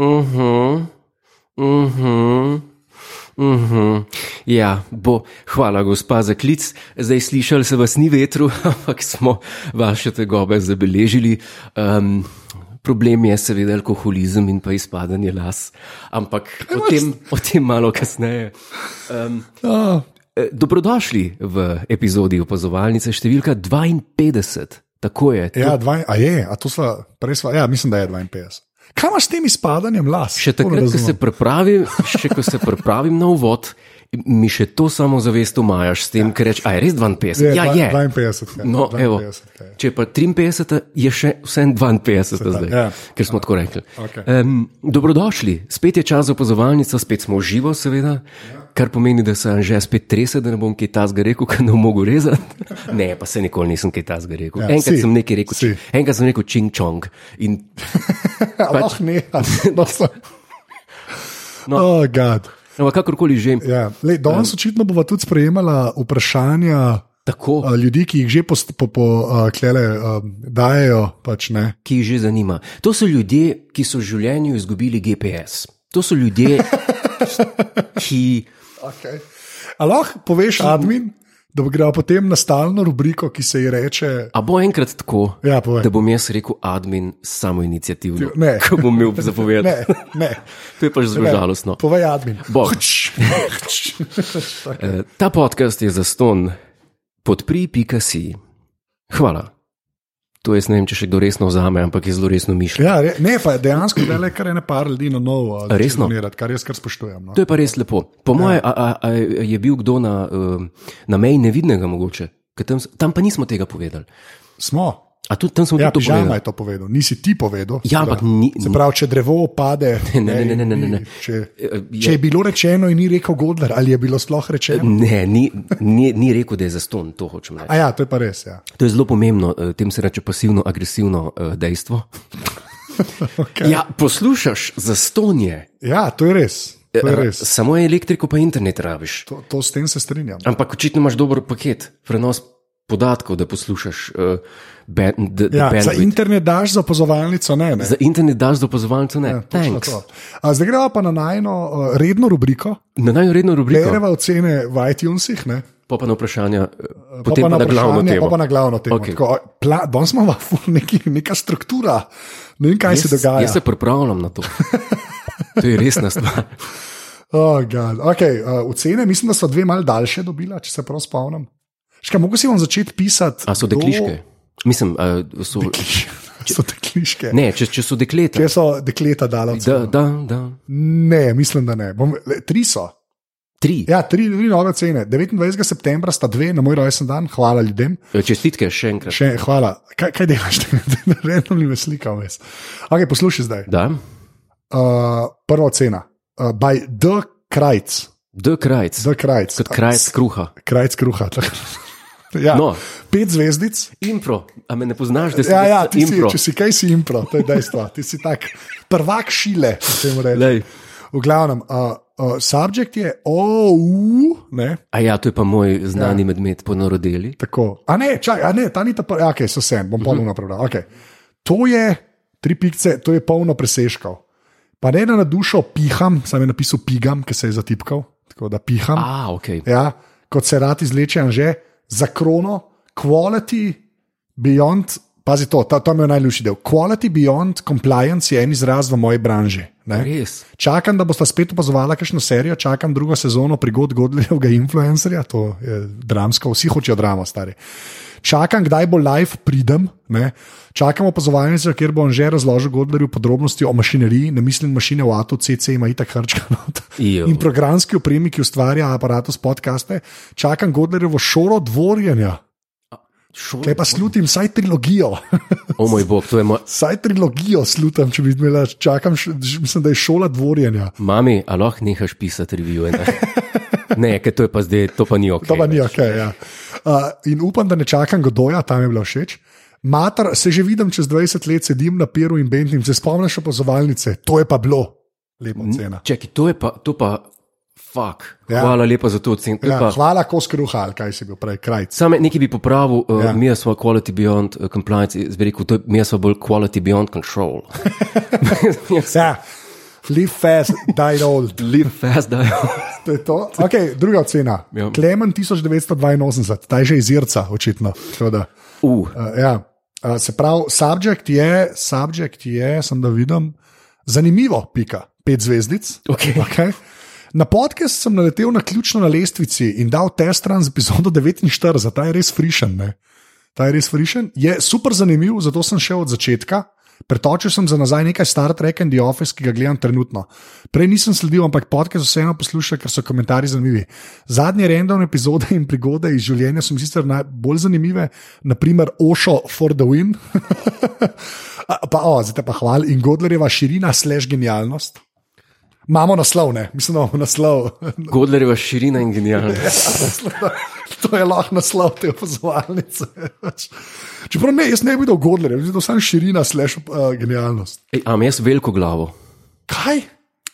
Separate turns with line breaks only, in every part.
Mm-hmm. Uhum. Mm-hmm. Ja, bo, hvala, gospa, za klic. Zdaj slišali se vas ni vetru, ampak smo vaše tegobe zabeležili. Um, problem je seveda alkoholizem in pa izpadanje las, ampak o tem, o tem malo kasneje. Um,
Ah,
eh, dobrodošli v epizodi opazovalnice številka 52, tako je.
ja, dva, a je, a to sva, prej sva, ja, mislim, da je 52. Kaj imaš s tem izpadanjem las?
Še
To ne
takrat, ko se
razumem.
pripravim, še ko se pripravim na uvod, mi še to samozavest umajaš s tem, ker rečeš, a je res 52.
Je,
ja,
dva-
je.
52, ja,
No,
52,
evo,
ja.
če je pa 53, je še vsem 52 zdaj,
ja.
ker smo tako rekli.
Okej.
Em, dobrodošli, spet je čas za opazovalnico, spet smo živo, seveda, kar pomeni, da se Anže spet trese, da ne bom kaj tasga rekel, ker ne bom mogel rezati. Ne, pa se nikoli nisem kaj tasga rekel.
Ja,
Enkrat
si,
sem nekaj rekel,
si.
enkrat sem rekel čing čong in pač-
Ampak Ja, ne, no, so.
No. Eh.
No. Oh, God.
ampak no, kakorkoli že.
ja. Lej, danes um. očitno bova tudi sprejemala vprašanja
Tako.
uh, ljudi, ki jih že post- po, po uh, klele uh, dajo. Pač, ne.
ki jih že zanima. To so ljudje, ki so v življenju izgubili GPS. To so ljudje, ki.
okay. A lahko poveš, admin, da gremo potem na stalno rubriko, ki se ji reče.
A bo enkrat tako,
Ja, povej.
da bom jaz rekel admin samo inicijativno,
Ne.
ko bom imel zapovedati.
Ne, ne.
To je pač zelo žalostno.
Povej, admin.
Bog.
Hč, hč.
Eh, Ta podcast je za ston podpri.si. Hvala. To jaz ne vem, če še kdo resno vzame, ampak je zelo resno mišljen.
ja, re, ne, pa dejansko je le kar ena par ljudi na novo. eh,
Resno?
donirati, Kar jaz kar spoštujem. No.
To je pa res lepo. Po mojem, a, a, a je bil kdo na, eh, na meji nevidnega mogoče, Ker tam, s- tam pa nismo tega povedali.
Smo.
A tudi tam smo
Ja,
tudi to povedali.
pižama je to povedal, nisi ti povedal.
Ja, ampak ni-
Se pravi, če drevo pade.
Ne, ne, ne, ne, ne, ne, ne.
Če,
Je-
če je bilo rečeno in ni rekel Godler, ali je bilo sploh rečeno.
Ne, ni, ni, ni rekel, da je zaston, to hočem reči.
A ja, to je pa res. Ja.
To je zelo pomembno, eh, tem se reče pasivno-agresivno eh, dejstvo.
Okay.
Ja, poslušaš zastonje,
ja, to je res.
E,
To, je res.
samo elektriko pa internet rabiš.
To, to s tem se strinjam.
Ampak očitno imaš dober paket, prenos podatkov, da poslušaš uh, ben, the, the
Ja,
bandwidth.
za internet daš za opazovalnico, ne. ne.
za internet daš do pozvalnice, ne, ja,
Točno
thanks.
to. A, Zdaj gremo pa na najno uh, redno rubriko,
Na najredno rubriko,
Ereva ocene v iTunesih, ne?
pa pa na vprašanja, eh,
Pa
potem pa, pa na glavno
vprašanje,
temo.
Pa pa na glavno temo.
Okej.
Okay. Tako, pla, danes smo v neki, neka struktura, ne vem, kaj jaz, se dogaja.
Jaz se pripravljam na to. To je resna stvar.
Oh, God. okay, uh, ocene, mislim, da so dve malo daljše dobila, če se prav spomnim. Škaj, mogo si vam začeti pisati.
A so
kdo-
dekliške? Mislim, a, so,
so dekliške. Ne.
ne, če, če so dekleta.
Kje so dekleta dala? Da.
Da, da, da.
Ne, mislim, da ne. Bom, le, tri so.
Tri.
Ja, tri, tri nove cene. 29. septembra sta dve na moj rojsten dan, hvala ljudem.
Ja. Čestitke še enkrat.
Še hvala. Kaj, kaj delaš, da ne rečem, slikam jaz. Okay, poslušaj zdaj.
Da,
Uh, prva cena. Uh, by the krajc.
D krajc,
The krajc.
kot krajc kruha.
Krajc kruha. ja.
No.
Pet zvezdic.
Impro, a me ne poznaš, da si
Ja, ja, ti si,
impro.
če si kaj, si impro, to je dejstvo. Ti si tak prvak šile, če jim rečeš.
Lej.
V glavnem, uh, uh, subjekt je OU, ne,
A ja, to je pa moj znani ja. medmet, ponorodeli.
tako. A ne, čakaj, a ne, ta ni ta prva, ok, so sem,
Mhm.
bom ponovno prebral. Okay. To je tri pikce, to je polno preseškov. Pa ne da na dušo piham, sam je napisal pigam, ki se je zatipkal, tako da piham.
A, ok.
Ja, kot se rad izleče, že za krono, quality beyond, pazi to, ta, to mi je najljubši del. Quality beyond compliance je en izraz v moji branži. Ne?
Res.
Čakam, da boste spet opazovala kakšno serijo, čakam drugo sezono prigod Godljevega influencerja, to je dramsko, vsi hočejo dramo, stari. Čakam, kdaj bo live pridem, ne? čakam opazovalnico, kjer bo on že razložil Godlerju podrobnosti o mašineriji, ne mislim mašine v avtu, CC ima itak hrčkano
Jo.
in programski opremi, ki ustvarja aparatus podcaste, čakam Godlerjevo šoro dvorjenja.
Šol-
Kaj pa slutim, saj trilogijo,
O moj bog, to je moj.
saj trilogijo slutim, če bi imela, čakam, š- ž- mislim, da je šola dvorjenja.
Mami, a lahko nehaš pisati revije? Ne, ne ker to je pa zdaj, to pa ni ok.
To pa ni ok. Ja. Uh, in upam, da ne čakam Godoja, tam je bilo všeč. Mater, se že vidim, čez 20 let sedim na peru in bentnim, se spomniš opazovalnice, to je pa bilo, lepa
Mhm.
cena.
Čekaj, to je pa, to pa, fuck. Ja.
Ja.
Hvala lepa za to ocen.
Ja,
Ja,
hvala, ko skruhal, kaj si bil prej, krajc.
Sam nekaj bi popravil, uh, ja.
Ja.
mi smo quality beyond uh, compliance, zdaj bi rekel, to je- mi smo bolj quality beyond control.
Ja. Live fast, die old.
Live fast, da je.
To je to. Okay, druga ocena.
Ja.
Klemen 1982, ta je že iz Irca, očitno. Tako da,
Uh,
Uh, ja. uh, se pravi, subjekt je, subjekt je, sem da vidim, zanimivo, pika, pet zvezdic.
Okej.
Okay. Na podcast sem naletel na ključno na lestvici in dal test ran z epizodo 49, ta je res frišen. Ne? Ta je res frišen. Je super zanimiv, zato sem šel od začetka. Pretočil sem za nazaj nekaj Star Trek and The Office, ki ga gledam trenutno. Prej nisem sledil, ampak podcast vseeno poslušam, ker so komentarji zanimivi. Zadnje random epizode in prigode iz življenja so mi sicer najbolj zanimive, naprimer Ošo for the Win, A, pa o, zdaj te pa hval in Godlerjeva širina slash genialnost. Imamo naslov, ne, mislim, da imamo naslov.
Godlerjeva širina in genijalnost.
to je lahko naslov te opazovalnice. Čeprav ne, jaz ne bi videl Godlerja, videl sem širina slash uh, genialnost.
Ej, a imam jaz veliko glavo?
Kaj?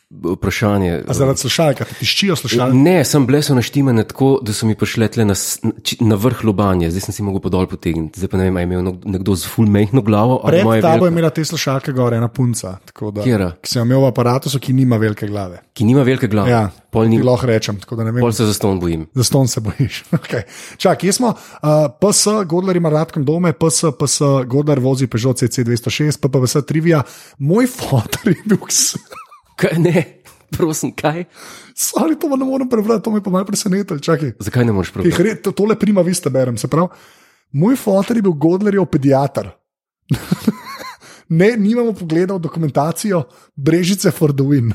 Vprašanje.
A zaradi slušalka, ti tiščijo slušalke.
Ne, sem bile so naštimane tako, da so mi prišle tle na, s- na či- na vrh lobanje, zdaj sem si mogel pa dol potegniti. Zdaj pa ne vem, ali je imel nek- nekdo z full mehko glavo ali E,
Pred
moje
tabo je
veliko,
imela te slušalke gore ena punca, tako da,
Katera?
ki sem jo imel v aparatu, ki nima velike glave.
ki nima velike glave.
Ja,
pol,
ti
ni,
lahko rečem, tako da ne vem.
pol se za ston bojim.
Za ston se bojiš. Okay. Čak, jaz smo, uh, PS, Godler ima radkom dome, PS, PS, Godler vozi Peugeot CC206, PPS Trivia. Moj fotor je bil,
Kaj, ne, prosim, kaj?
ali to pa ne morem prebrati, to me pa malo presenetilo. Čakaj,
Zakaj ne moreš
Teh
probati?
re- to- tole prima vista berem, se pravi. Moj fotor je bil Godlerjev pediatar. ne, nimamo pogleda v dokumentacijo Brežice for the win.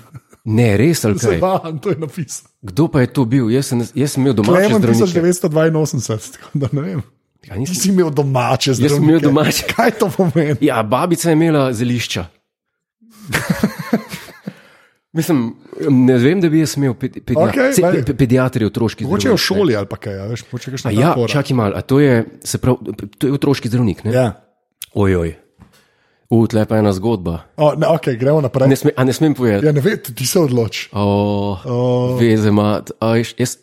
Ne, res ali kaj.
Zabavam, to je napisano.
Kdo pa je to bil? Jaz sem, jaz sem imel domače
Klemen
zdravnike.
1982, tako da ne vem.
Ja, nisem-
Ti si imel domače zdravnike.
Jaz sem imel domače.
Kaj to pomeni?
Ja, babica je imela zelišča. Mislim, ne vem, da bi jaz smel pedi
Okej, daj.
okay, pe pediatri otroški
Mogoče je
zdravnik,
v
ne.
šoli ali pa kaj, a veš, mogoče
A
kakšna
ja,
fora.
čakaj malo, a to je, se pravi, to je otroški zdravnik, ne?
Ja.
Ojoj. U, tle pa je ena zgodba.
O, ne, ok, gremo naprej.
Ne
Ne.
sme, a ne smem povedati?
Ja, ne veš, ti se odloči.
O, veze ima. a veš, jaz-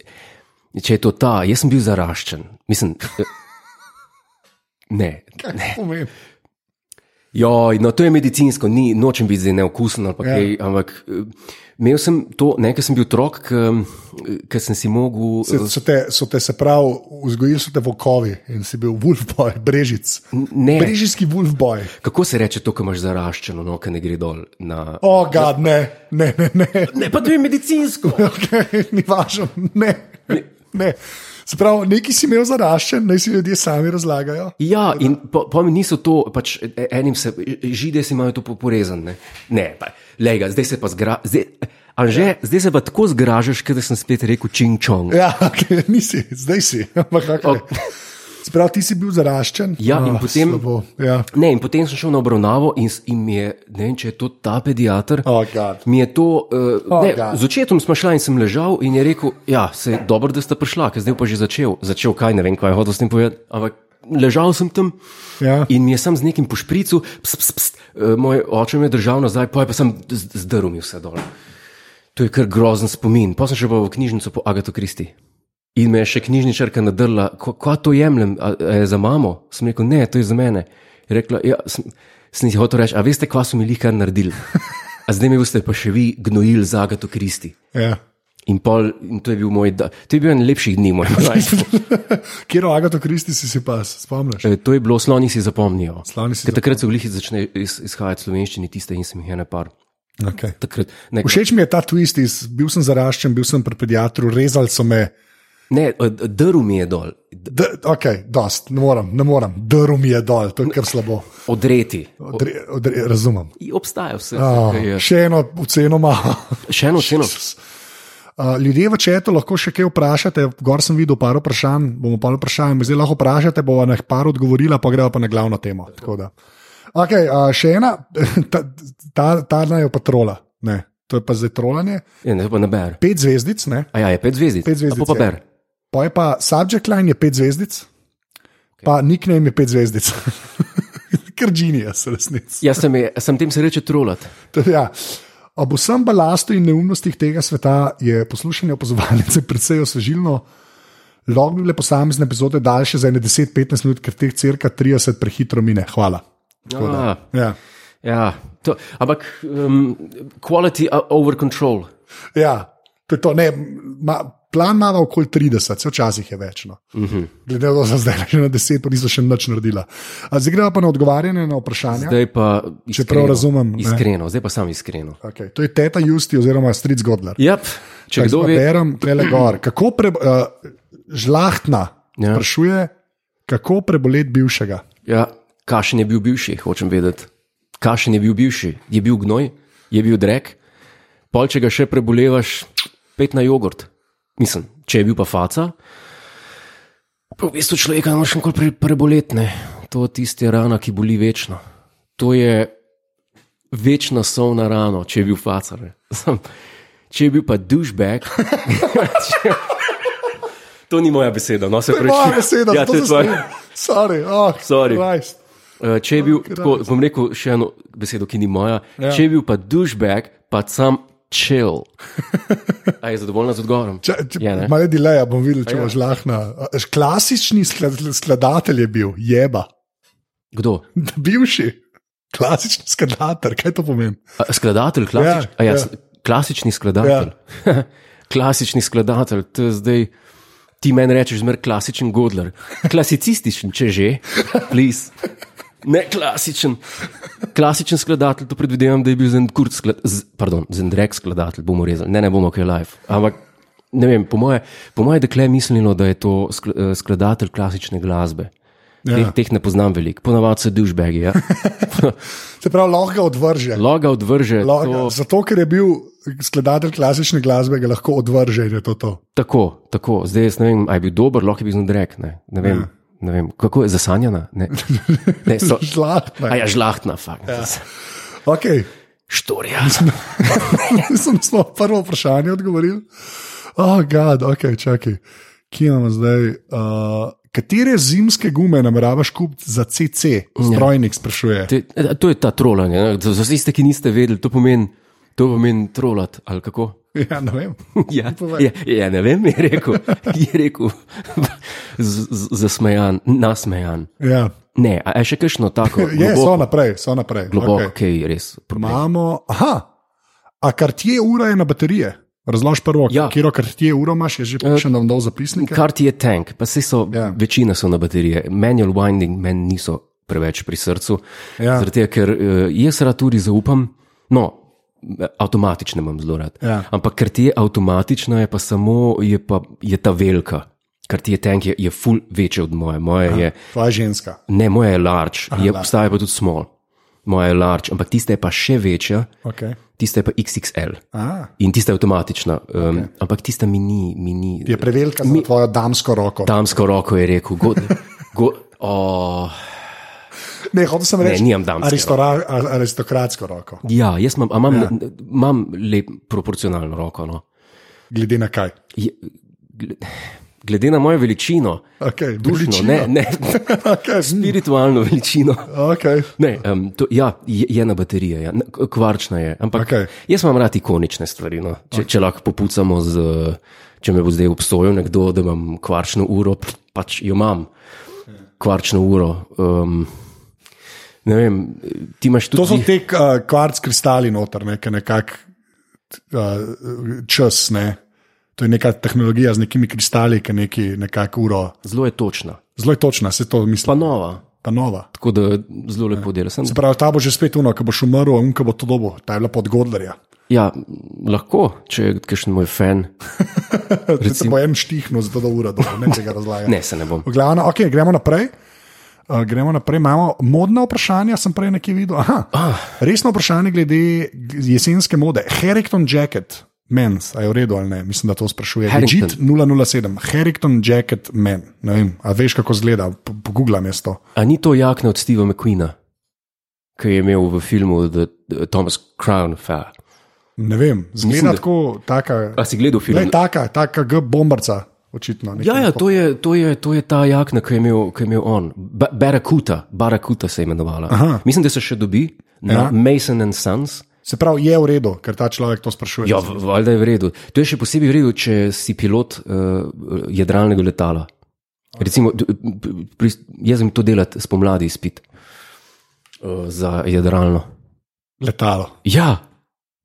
Če je to ta, jaz sem bil zaraščen. Mislim, eh, ne.
Kaj to pomeni?
Joj, no to je medicinsko, ni, nočem biti zdaj neokusen ali pa
Ja.
kaj, ampak eh, imel sem to, nekaj sem bil otrok, ker sem si mogel.
So, so, te, so te, se pravi, vzgojili so te vokovi in si bil vulfboj, brežic.
Ne.
Brežijski vulfboj.
Kako se reče to, ko imaš zaraščeno, no, ki ne gre dol na.
O, oh, gad, ne, ne, ne, ne.
Ne, pa to je medicinsko.
Okay, ni važno, ne. ne. Se pravi, neki si imel zaraščen, naj si ljudje sami razlagajo.
Ja, in po, po meni niso to, pač e- enim se, žide si imajo to po- porezano. Ne, ne pa, lej ga, zdaj se pa zgra, zdaj, Anže, ja. zdaj se pa tako zgražaš, ker sem spet rekel čing čong.
Ja, okay, nisi, zdaj si. Ampak, okay.
Ok.
Se pravi, ti si bil zaraščen.
Ja, in
Ah,
potem-
slabo, Ja.
Ne, in potem sem šel na obravnavo in, s- in mi je, ne vem, če je to ta pediater,
Oh, God.
mi je to, uh,
Oh,
ne,
God.
z očetom smo šla in sem ležal in je rekel, ja, se je dobro, da ste prišla, ker zdaj bo pa že začel, začel kaj, ne vem, kaj je hotel s tem povedati, ampak ležal sem tam
Ja.
in mi je sam z nekim pošpricu, ps, ps, ps, uh, moj oče me je držal nazaj, pa je pa sem z- zdrl mi vse dol. To je kar grozen spomin. Potem sem šel pa v knjižnico po Agato Kristi. In me je še knjižničarka nadrla, ko, ko to jemljem, a, a je za mamo. Sem rekel, ne, to je za mene. Je rekla, ja, sem, sem ji hotel reči, a veste, kva so mi lih kar naredili. A zdaj mi boste pa še vi gnojili za Agato Kristi.
Ja.
In, pol, in to je bil moj, da, to je bil en lepših dni, moj mlajši.
Kjer o Agato Kristi si si pas, spomniš?
To je bilo, sloni si zapomnijo.
Sloni si
Ker takrat so glih začne iz, izhajati slovenščini, tiste in sem jih ena par.
Okay.
Takrat, ne,
Všeč mi je ta twist, iz, bil sem zaraščen, bil sem pri pediatru, rezali so me.
ne, e, drl mi je dol,
D ok, dost, ne morem, ne morem, drl mi je dol, to je kar slabo.
odreti.
Odre, odre, razumem.
In Obstaja vse.
Oh,
kaj je.
še eno oceno imamo.
Še eno ceno.
Uh, ljudje v četu lahko še kaj vprašate, gor sem videl par vprašanj, bomo pa vprašali, zdaj lahko vprašate, bova na jih par odgovorila, pa greva pa na glavno temo. tako da. Okay, uh, še ena, ta, ta, ta naj jo pa trola, ne. to je pa zdaj trolanje.
Je, E, ne, to pa ne ber.
Pet zvezdic, ne?
A ja, je pet zvezdic.
Pet zvezdic,
A pa
ja.
pa ber.
Pa je pa subject line je pet zvezdic, okay. pa nickname je pet zvezdic. Ker genijus, resnici.
Jaz Ja, sem, je- sem tem se reče trolat.
Ja. Ob vsem balastu in neumnostih tega sveta je poslušanje opazovalnice precej osvežilno. Lahko bi bile posamezne epizode daljše za 10-15 minut, ker teh cirka 30 prehitro mine. Hvala. Tako da,
Ah,
Ja.
ja, To, ampak um, quality over control.
Ja, to je to. Ne, ma, plan imamo okoli 30, se včasih je večno. Uh -huh. Glede na to, da sem zdaj že na 10, pa nisem še nič naredila. A zdaj gremo pa na odgovarjanje na vprašanje.
Zdaj pa, iskreno,
Če prav razumem, ne.
Iskreno, zdaj pa sam iskreno.
Okay. To je teta Justi oziroma Stric Godler.
Yep, če kdo ve,
berem, tele gor. Kako pre, uh, žlahtna
Ja.
ja. sprašuje, kako preboleti bivšega?
ja, kakšen je bil bivši, hočem vedeti. Kakšen je bil bivši? Je bil gnoj, je bil drek. Pol, če ga še prebolevaš, pet na jogurt. Mislim, če je bil pa faca, pa v bistvu človeka ne moreš nikoli pre, preboleti. ne. To je tiste rana, ki boli večno. To je večna sovna rana, če je bil faca. ne. Sam, če je bil pa dušbek. To ni moja beseda, no se
Moja
prečujem.
beseda,
ja,
to
to je
se
tvoja.
strinjam. Sorry, oh,
Sorry.
Christ.
Eh, Če je bil, tako, bom rekel še eno besedo, ki ni moja. Ja.
Ja.
Če je bil pa dušbek, pa sam chill. A je zadovoljna z odgovorom?
Če, če,
Ja, ne? Ja.
ja, malo je dileja, bom videl, če bo žlahna. A, š- Klasični sklad, skladatelj je bil, jeba,
Kdo?
bivši. Klasični skladatelj, kaj to pomeni?
A, Skladatelj, klasič,
Ja,
ja, ja,
ja.
ja. klasični skladatelj. Ja. klasični skladatelj, to je zdaj. Ti meni rečeš, zmer klasičen godler. Klasicističen, če že, plis. Ne klasičen. Klasičen skladatelj, to predvidevam, da je bil Zendrek sklad, z- pardon, Zendrek skladatelj, bomo rezali, ne, ne bomo kaj live. Ampak ne vem, po moje, po moje dekle je mislilo, da je to skl- eh, skladatelj klasične glasbe. Ja. Teh, teh ne poznam veliko, ponavadi so dušbegi. Ja.
Se pravi, lahko ga odvrže.
Loga odvrže,
Lahko-
to
Zato, ker je bil skladatelj klasične glasbe, ga lahko odvrže in je to to.
Tako, tako. zdaj jaz ne vem, ali je bil dober, lahko je bil zunodrek. Ne? Ne, vem, ne vem, kako je zasanjena. Ne? Ne, so,
Žlahna.
a ja, žlahtna, fakt. Ja.
Okay.
Štorija.
Mislim, da smo prvo vprašanje odgovorili. Oh, God, ok, čakaj. Kje imamo zdaj? Uh, katere zimske gume nameravaš kupiti za CC? Strojnik sprašuje.
Te, e, to je ta trolanje. ne. Za za vse, ki niste vedeli, to pomeni, to pomeni trolat ali kako.
Ja, ne vem.
Ja,
povej.
ja, ja, ne vem, je rekel, je rekel z- z- zasmejan, nasmejan.
Ja.
Ne, a je še kakšno tako?
Je, so
globoko-
naprej, so naprej.
Globoko,
Okay.
okay. res.
Imamo, aha, a kar ti je ura je na baterije. Razloži prvo,
Ja.
ja. kje kar ti je ura, imaš je že pišem, da vam dol zapisnike.
Kar ti je tank, pa vse so, ja.
Ja.
večina so na baterije, manual winding, meni niso preveč pri srcu. Ja.
Ja.
Zaradi tega, ker eh, jaz rad tudi zaupam, no, eh, avtomatične imam zelo rad.
Ja.
Ampak ker ti je avtomatična, je pa samo, je, pa, je ta velika. Ker ti je tank, je, je full večje od moje. Moje Aha. je
Tvoja ženska.
Ne, moja je large, Aha, je,
large.
obstaja pa tudi small. Moja je large, ampak tista je pa še večja,
Okay.
tista je pa XXL.
A,
In tista je avtomatična, um, okay. ampak tista mi ni, mi ni.
je prevelika za tvojo damsko roko.
Damsko roko je rekel, go, go, oh,
Ne, hotel sem reči,
nimam damske
aristora- a- aristokratsko roko.
ja, jaz imam, a imam, ja. imam lep proporcionalno roko. No.
Glede na kaj.
Je, gle- glede na mojo veličino,
Okay,
dušno,
veličino.
ne, ne
okay, hm,
spiritualno veličino.
okay.
Ne, um, to, ja, je, je na baterije, ja, na- kvarčna je. Ampak okay.
Okej.
jaz imam rad ikonične stvari. No. Če, okay. če lahko popucamo, z, eh, če me bo zdaj obsojal nekdo, da imam kvarčno uro, pff, pač jo imam,
Ja.
kvarčno uro. Um, ne vem, ti imaš tudi.
To so te uh, kvarc kristali noter, ne, ki nekako uh, čas. Ne. To je neka tehnologija z nekimi kristali, ki neki nekako uro.
Zelo je točna,
Zelo je točna, se to
pa
misli,
nova. Ja.
ta nova.
Tako da zelo lepo dela. Sem,
Se pravi, ta bo že spet uno, ki boš umrl, in ki bo to dobo, ta je bila pod Godlerja.
ja, lahko, če je kakšen moj fan.
Zdaj se bo en štihnil, zato da ura dobo, ne tega razlaga.
Ne, se ne bom.
V glavnem, ok, gremo naprej. Uh, gremo naprej, imamo modna vprašanja, sem prej nekje videl. Aha, ah. Resno vprašanje glede jesenske mode. Harrington jacket, mens, a je v redu ali ne, mislim, da to sprašuje.
Harrington.
Legit 007, Harrington jacket, men. Ne vem, a veš, kako zgleda, Po- pogooglam jaz to.
A ni to jakna od Steva McQueena, ki je imel v filmu The, The Thomas Crown Fair?
Ne vem, zgleda
Mislim,
mislim,
da-
tako, taka,
A si gledal film?
ne, taka, taka G bombarca, očitno. nekaj
Ja, ja
tako.
to, je, to, je, to je ta jakna, ki je imel, ki je imel on. Ba Barakuta, Barakuta se je imenovala.
Aha.
Mislim, da se še dobi na ja.
Ja.
Mason and Sons.
Se pravi, je v redu, ker ta človek to sprašuje.
Ja, v- valjda je v redu. To je še posebej v redu, če si pilot uh, jadralnega letala. Recimo, d- p- pri, jaz sem to delal spomladi izpit uh, za eh, jadralno.
letalo.
Ja,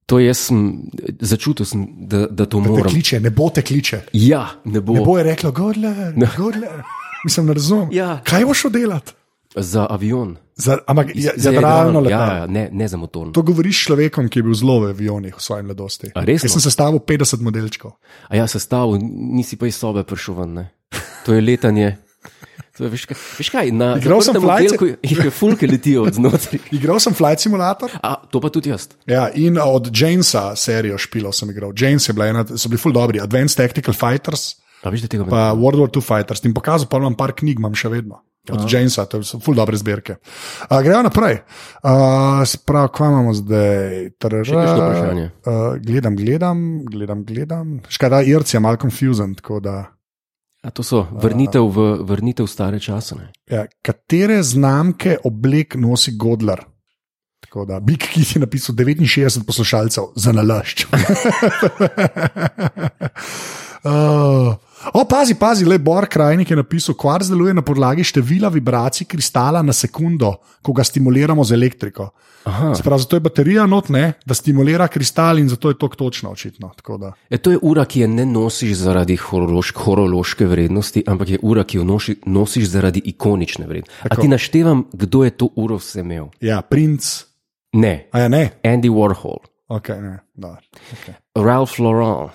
to jaz sem začutil, sem, da, da to
Te
moram.
kliče, ne bo te kliče.
Ja, ne bo.
Ne bo je reklo, Godler, Godler. Mislim, ne razumem.
Ja.
Kaj boš oddelati?
Za avion.
Za, ampak ja-
Za
jadralno
jadralno,
letalo.
Ja, ja, ne, ne za motor.
To govoriš s človekom, ki je bil zelo v avionih v svoji mladosti.
A resno?
Jaz sem sestavil 50 modelčkov.
A ja, sestavo, nisi pa iz sobe prišel ven. Ne? To je letanje. To je, veš, kaj, veš kaj, na
Igral sem
zaprtem
flajce.
oddelku jih je fulke letijo od znotraj.
Igral sem Flight Simulator
A, to pa tudi jaz.
ja, in od Jamesa serijo špilov sem igral. James je bila ena, so bili ful dobri, Advanced Tactical Fighters,
A veš, da tega ne
pa World War II Fighters. In pokazal pa imam par knjig, imam še vedno. Od Aha. Jamesa, to so ful dobre zbirke. Uh, gremo naprej. Uh, Sprav, kva imamo zdaj? Tarara,
Še kakšno vprašanje?
Uh, gledam, gledam, gledam, gledam. Škoda, Irci je malo confused, tako da.
A to so vrnitev v, vrnitev v stare čase. Ne?
Ja, katere znamke oblek nosi Godler? Tako da, Big Kid je napisal 69 poslušalcev za nalašč. uh, o, pazi, pazi, le Bor Krajnik je napisal, kvarc deluje na podlagi števila vibracij kristala na sekundo, ko ga stimuliramo z elektriko.
Aha,
Se pravi, zato je baterija not, ne, da stimulira kristal in zato je to točno, očitno. Tako da,
e, to je ura, ki je ne nosiš zaradi horološ, horološke vrednosti, ampak je ura, ki jo noši, nosiš zaradi ikonične vrednosti. A
Tako.
ti naštevam, kdo je to uro vse imel?
ja, princ,
Ne,
a ja, ne,
Andy Warhol,
okay, ne, da. Okay.
Ralph Lauren,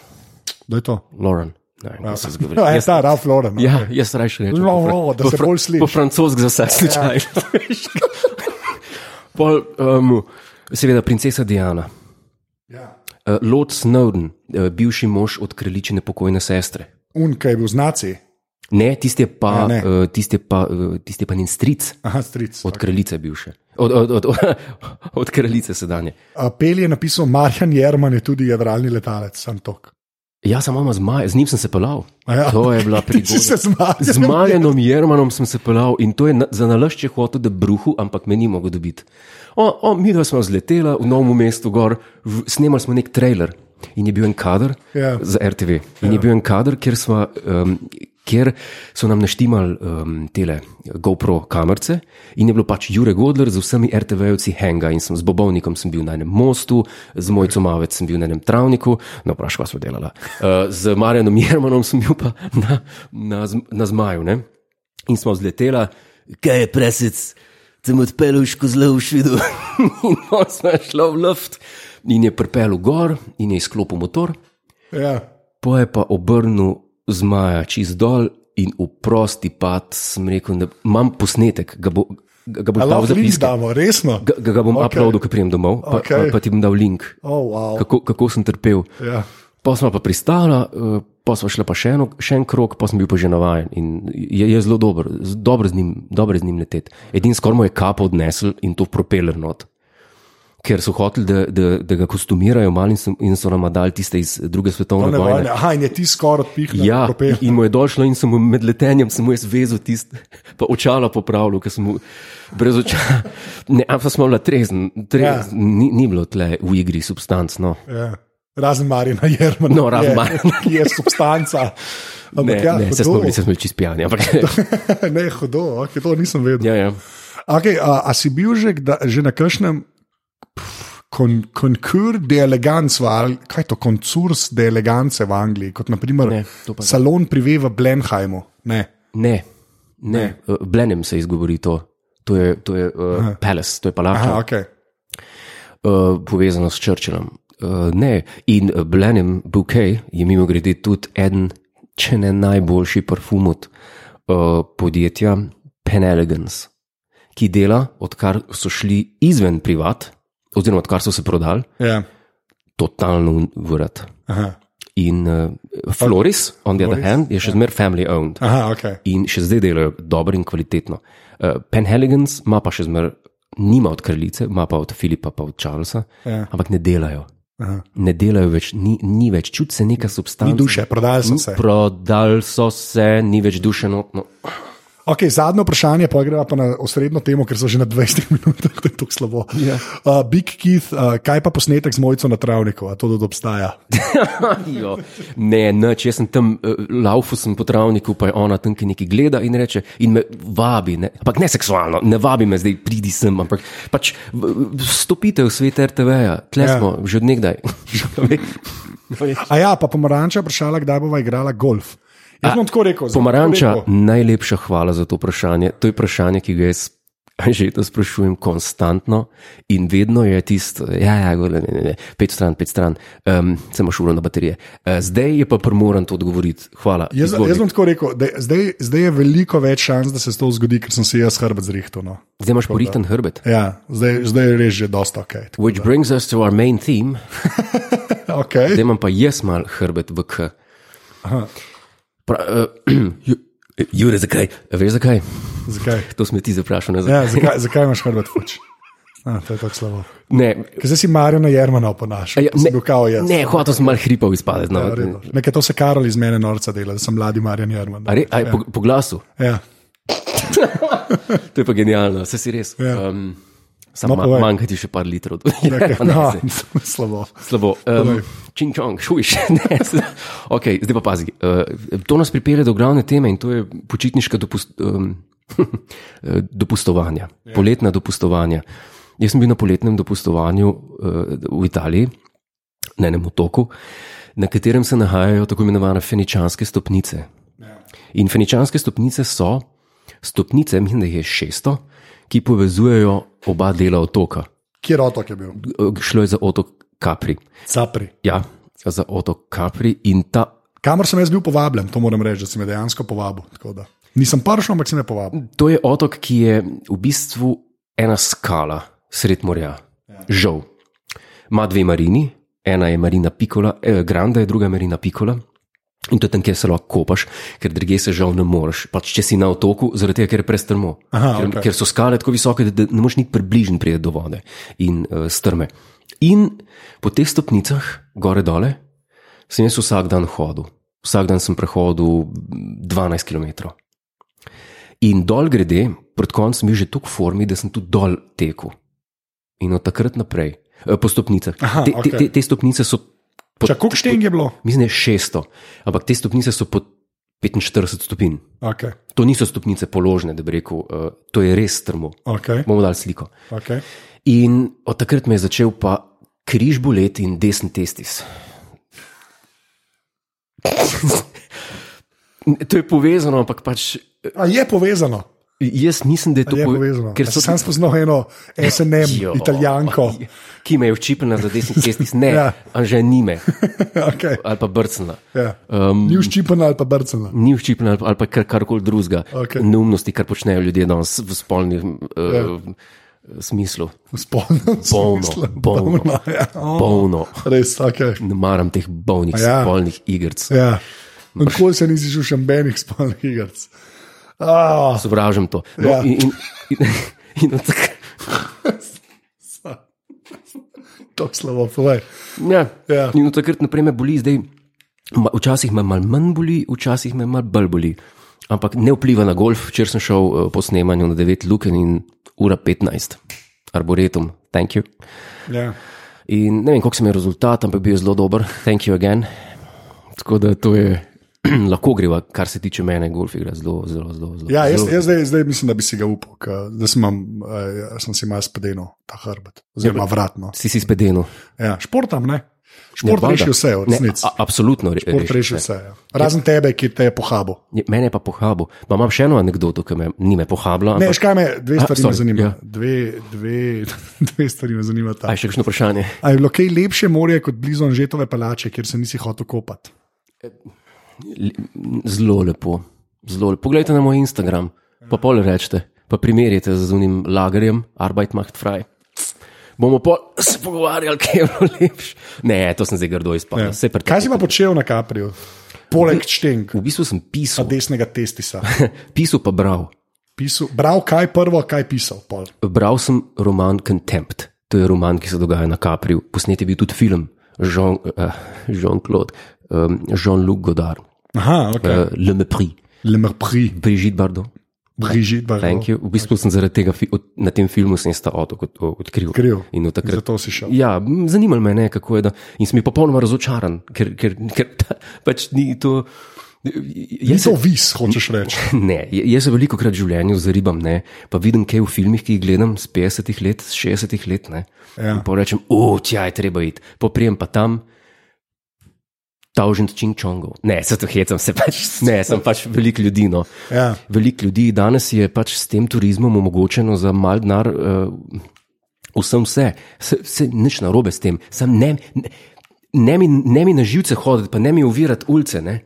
Da je to.
Lauren. Ne, vem, kaj se zgodi.
Ja, je ta Ralph Lauren.
Ja, jaz rajši rečem.
No,
po fran-
no, da
po
se
fran-
bolj sliši. Ja.
Po francosko za vsak slučaj. Pol, um, seveda, princesa Diana,
Ja.
uh, Lord Snowden, uh, bivši mož od kraljičine pokojne sestre.
Un, kaj je bil znaci,
Ne, tisti je pa,
Ja, ne.
uh, tisti je pa, uh, tisti je pa njen stric
aha, stric.
od kraljice bivše. Od, od, od, od, od kraljice sedanje.
A, Pel je napisal, Marjan Jerman je tudi jadralni letalec, sem tok.
Ja, samo ima zmaj, z njim sem se pelal.
A ja.
To je bila
Ti si
prigoda.
se zmagal.
Z Maljenom Jermanom sem se pelal in to je na, za nalašče hotel, da bruhu, ampak me ni mogel dobiti. O, o, mi dva smo zletela v novem mestu gor, v, snemali smo nek trailer in je bil en kader
Ja.
za RTV. In je bil en kader, kjer, sva, um, kjer so nam naštimali um, tele GoPro kamerice in je bilo pač Jurek Godler z vsemi RTV-ovci Henga in sem z Bobovnikom sem bil na enem mostu, z Mojcom Mavec sem bil na enem travniku, no vprašaj, kaj smo delala. Uh, z Marjanom Jermanom sem bil pa na, na, zm- na zmaju ne? in smo vzletela, kaj je presec. Sem odpeljal škozlo v švidu in on smo šlo v luft. In je pripeljal gor in je izklopil motor,
Ja.
Po je pa obrnil zmaja čez dol in v prosti pad sem rekel, da imam posnetek, ga, bo, ga bom
A
dal
Lahko
za
link
pisk.
damo, resno.
Ja, Ga, ga bom
Okej.
okay. uploadil, ko pridem domov, pa, okay.
Okej.
pa, pa ti bom dal link,
Oh, wow.
kako, kako sem trpel.
ja.
Pa smo pa pristala, eh, pa smo šla pa še, eno, še en krok, pa sem bil pa že navaden. In je, je zelo dober, z- dobro z njim, dobro z njim leteti. Edini skoraj mu je kapo odnesel in to propeler not. Ker so hoteli, da, da, da ga kostumirajo malo in so, in so nam dali tiste iz druge svetovne
Ne
vojne.
vojne. Aha, in je ti skoraj odpihnil.
No, Ja,
propel.
in mu je došlo, in sem mu med letenjem samo jaz vezal tisto, pa očala popravljal, ker sem mu brez očala. Ne, ampak smo bila trezen,
Ja.
trezen ni, ni bilo tle v igri substanc. No.
Ja. Razen Marina Jermana.
No, razen
je-
Marjana.
Ki je substanca.
Ne,
Ampak
ja, ne, se smo
hudo.
bili, se smo bili čist pijani. Ampak,
ne, hudo, okay, to nisem vedel.
ja, ja.
Okay, a, a si bil že, kda, že na kakšnem konkur de elegance, v Al- kaj je to, konkurs de elegance v Angliji, kot naprimer
Ne, to pa ne.
salon prive v Blenheimu. Ne.
Ne, ne, ne. blenem se izgovori to. To je, to je uh, Palace, to je palača.
Aha, okay.
uh, povezano s Churchillom. Uh, ne, in uh, Blenem Bouquet je mimo grede tudi eden, če ne najboljši parfum od uh, podjetja Penelegance, ki dela, odkar so šli izven privat, oziroma odkar so se prodali,
ja.
totalno vrat.
Aha,
In uh, Floris, on the other
Floris,
hand, je še zmeraj family owned
Aha okay.
in še zdaj delajo dobro in kvalitetno. Uh, Penheligans ima pa še zmeraj, nima od kraljice, ima pa od Filipa, pa od Charlesa,
Ja.
ampak ne delajo.
Aha.
Ne delajo več, ni, ni več, čuti se neka substanca.
Ni duše, prodali so se.
no, Prodali so se, ni več duše notno.
O, Okay, zadnje vprašanje, pa gremo pa na osrednjo temo, ker so že na 20 minutah, da je to slabo.
Ja.
Uh, Big Keith, uh, kaj pa posnetek z mojico na travniku, a to tudi obstaja?
Jo, ne, nič, jaz sem tam, uh, laufu sem po travniku, pa je ona tam, ki nekaj gleda in reče, in me vabi, ne, ampak ne seksualno, ne vabi me zdaj, pridi sem, ampak pač v- v- stopite v svet RTV-ja, tle
Ja.
ja. smo, že odnegdaj.
A ja, pa pomaranča vprašala, kdaj bova igrala golf. Jaz bom tako rekel. zdaj bom tako
Pomaranča,
rekel.
najlepša hvala za to vprašanje. To je vprašanje, ki ga jaz že to sprašujem konstantno in vedno je tisto, ja, ja, gole, ne, ne, ne, pet stran, pet stran, um, sem šulo na baterije. Uh, zdaj je pa primoran to odgovoriti. Hvala.
Jaz,
izvoli.
jaz bom tako rekel, da, je- zdaj, zdaj je veliko več šans, da se to zgodi, ker sem si jaz hrbet zrihtel. No.
Zdaj imaš porihten hrbet.
Ja, zdaj, zdaj je res že dosta ok. tako
Which brings us to our main theme,
da- okay.
zdaj imam pa jaz mal hrbet v K. Pra- eh, Ju- eh, Jure, zakaj? Veš zakaj?
Zakaj?
To smo ti zaprašali nazaj.
Ja, zakaj, zakaj imaš hrbet fuč? A, to je tako slabo.
Ne,
Ker zdaj si Marijo na Jermana oponašal, ja, ne bil kao jaz.
ne, hotel sem mal hripov izpadeti. No.
Ja, v redu. Nekaj to se Karol iz mene norca dela, da sem mladi Marijan Jerman.
A re, aj, po, po glasu.
Ja.
To je pa genialno, vse si res.
Ja.
Um, Samo
No,
ma,
povej.
manjka ti še par litrov.
Okay.
Ja,
No, slabo.
Slabo.
Povej.
Um, čing čong, šujš. Ne, s- okay, zdaj pa pazi. Uh, to nas pripelje do glavne teme in to je počitniška dopust, um, dopustovanja, yeah. poletna dopustovanja. Jaz sem bil na poletnem dopustovanju uh, v Italiji, na enem otoku, na katerem se nahajajo tako imenovane feničanske stopnice. In feničanske stopnice so stopnice, mislim, da jih je 600, ki povezujejo oba dela otoka.
Kjer otok je bil?
Eh, Šlo je za otok Capri.
Capri.
Ja, za otok Capri in ta.
Kamor sem jaz bil povabljen, to moram reči, da si me dejansko povabil. tako da. Nisem prišel, ampak si me povabil.
To je otok, ki je v bistvu ena skala sred morja,
Ja.
žal. Ma dve marini, ena je Marina Pikola, eh, Granda je druga je Marina Pikola. In to je tam, kjer se lahko kopaš, ker druge se žal ne moreš. Pač, če si na otoku, zaradi tega, ker je prestrmo.
Aha,
ker,
okej.
ker so skale tako visoke, da, da ne moreš niti približno priti do vode in uh, strme. In po teh stopnicah, gore dole, sem jaz vsak dan hodil. Vsak dan sem prehodil 12 km. In dol grede, pred koncem je že tako v formi, da sem tudi dol tekel. In od takrat naprej, eh, po stopnicah.
Aha,
te, te,
okej.
te, te stopnice so, pod,
Čak, koliko šteng je bilo?
mislim, da je 600, ampak te stopnice so pod 45 stopinj.
Okay.
To niso stopnice položne, da bi rekel, uh, to je res strmo.
Okay.
Bomo dali sliko.
Okay.
In od takrat me je začel pa križ boleti in desen testis. to je povezano, ampak pač
A je povezano?
jaz mislim, da je to
Je
pove-
povezano.
Ker so
sem spoznal eno
Jo.
SNM, italijanko.
Ki me je včipnila za desni cesti, ne,
Ja.
ja. že nime
okay.
ali pa brcnila.
ja.
Um,
Ni uščipana ali pa brcana.
Ni včipnila ali pa kar, karkoli drugega.
Okej.
Neumnosti, kar počnejo ljudje danes v spolnem uh, ja. smislu.
V spolnem
Polno,
smislu.
polno.
Polno, ja. O,
Polno.
Res, ok.
Ne maram teh bolnih
Ja.
ja. spolnih igric.
Ja. Nikoli se nisi že šambenih spolnih igric. Ah,
Sovražim to. No, ja.
Ja.
in, in, in, in od tak,
to je slabo, povej.
ja.
Ja.
In od takrat naprej me boli, zdaj ma- včasih me malo manj boli, včasih me malo bolj boli. Ampak ne vpliva na golf, če sem šel eh, po snemanju na 9 luken in ura 15, arboretum, thank you.
Ja.
In ne vem, koliko sem je rezultat, ampak bil je zelo dober, thank you again. Tako da to je, lahko greva, kar se tiče mene, golf igra zelo, zelo, zelo. zelo
Ja, jaz,
zelo-
jaz zdaj, zdaj mislim, da bi si ga upal, ker zdaj sem, imam, eh, sem si malo spedenil ta hrbet,
Ja,
oziroma vratno.
Si si spedeno.
Ja, športam, ne? Šport
valjda.
reši vse, v
Ne,
resnici.
a- Absolutno re-
Šport reši vse. Ja. Razen tebe, ki te je pohabo.
Ne, Mene je pa pohabo. Pa imam še eno anegdoto, ki me ni me pohabila.
Ne,
Ampak...
škaj me, dve
A,
stvari me
sorry,
zanima.
ja.
Dve, dve, dve stvari me zanimata.
Aj, še kakšno vprašanje?
A je bilo kaj lepše morje kot blizu Anžetove palače, kjer se nisi hotel kopati?
Le- Zelo lepo. Zelo lepo. Poglejte na moj Instagram, pa pol rečete, pa primerjajte z unim lagerjem, Arbeit macht frei. Bomo pol se pogovarjali, kaj je bilo lepše. Ne, to sem zdaj grdo
Ja.
izpadel. Vse Ja, pri tem.
Kaj si pa počel na Kapriju? Poleg čtenk,
V bistvu sem pisal,
desnega testisa.
pisal pa bral.
Pisal, bral kaj prvo, kaj pisal. Pol.
Bral sem roman Contempt, to je roman, ki se dogaja na Kapriju, posnet je bil tudi film Jean, uh, Jean-Claude, um, Jean-Luc Godard,
Aha, ok.
uh, Le Mépris,
Le Merpri.
Brigitte Bardot.
Brižit,
Thank you. V bistvu sem zaradi tega fi- od- na tem filmu sem sta otok od- o- odkril.
Odkril.
In od takrat.
Zato si šel.
Ja, m, zanimalo me je, ne, kako je. Da, in sem bil popolnoma razočaran, ker, ker, ker ta, pač ni to.
Ni
Jaz
to vis, hočeš reči.
Ne, j- jaz se veliko krat v življenju zaribam, ne, pa vidim kaj v filmih, ki jih gledam z 50 let, z 60 let. Ne,
Ja.
In pa rečem, o, tja je treba iti, poprijem pa tam. Tavžent čingčongov. Ne, se to hecam, se pač, ne, sem pač veliko ljudi. No.
Ja.
Veliko ljudi danes je pač s tem turizmom omogočeno za mal denar, uh, vsem vse, se, se nič narobe s tem, sam ne, ne, ne, mi, ne mi na živce hoditi, pa ne mi uvirati ulice. ne.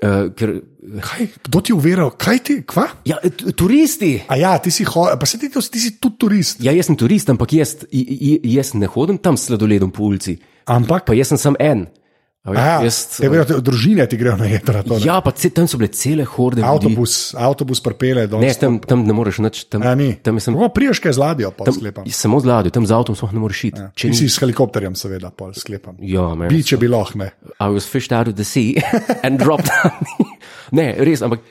Uh, ker,
Kaj, kdo ti je uveril, kaj ti, kva?
ja, tu- turisti!
A ja, ti si, ho, pa se ti, to- ti si tudi turist.
Ja, jaz sem turist, ampak jaz, i- i- jaz ne hodim tam s sladoledom po ulici,
Ampak,
pa jaz sem sam en. A veš,
ja,
jaz, eh,
te grejo, te- družine ti grejo na jedra. To, ne.
ja, pa ce, tam so bile cele horde. ljudi.
avtobus, avtobus prepele do
Ne, tam, tam ne moreš nič, tam,
Ja, ni.
tam je samo-
No, priješ kaj z ladjo, pa sklepam.
samo z ladjo, tam z avtom sploh ne moreš iti. Če
Ja. Ti
ni-
si s helikopterjem, seveda, pol sklepam.
Ja, man.
Bi, če bi lahko, ne.
I was fished out of the sea and dropped down. ne, res, ampak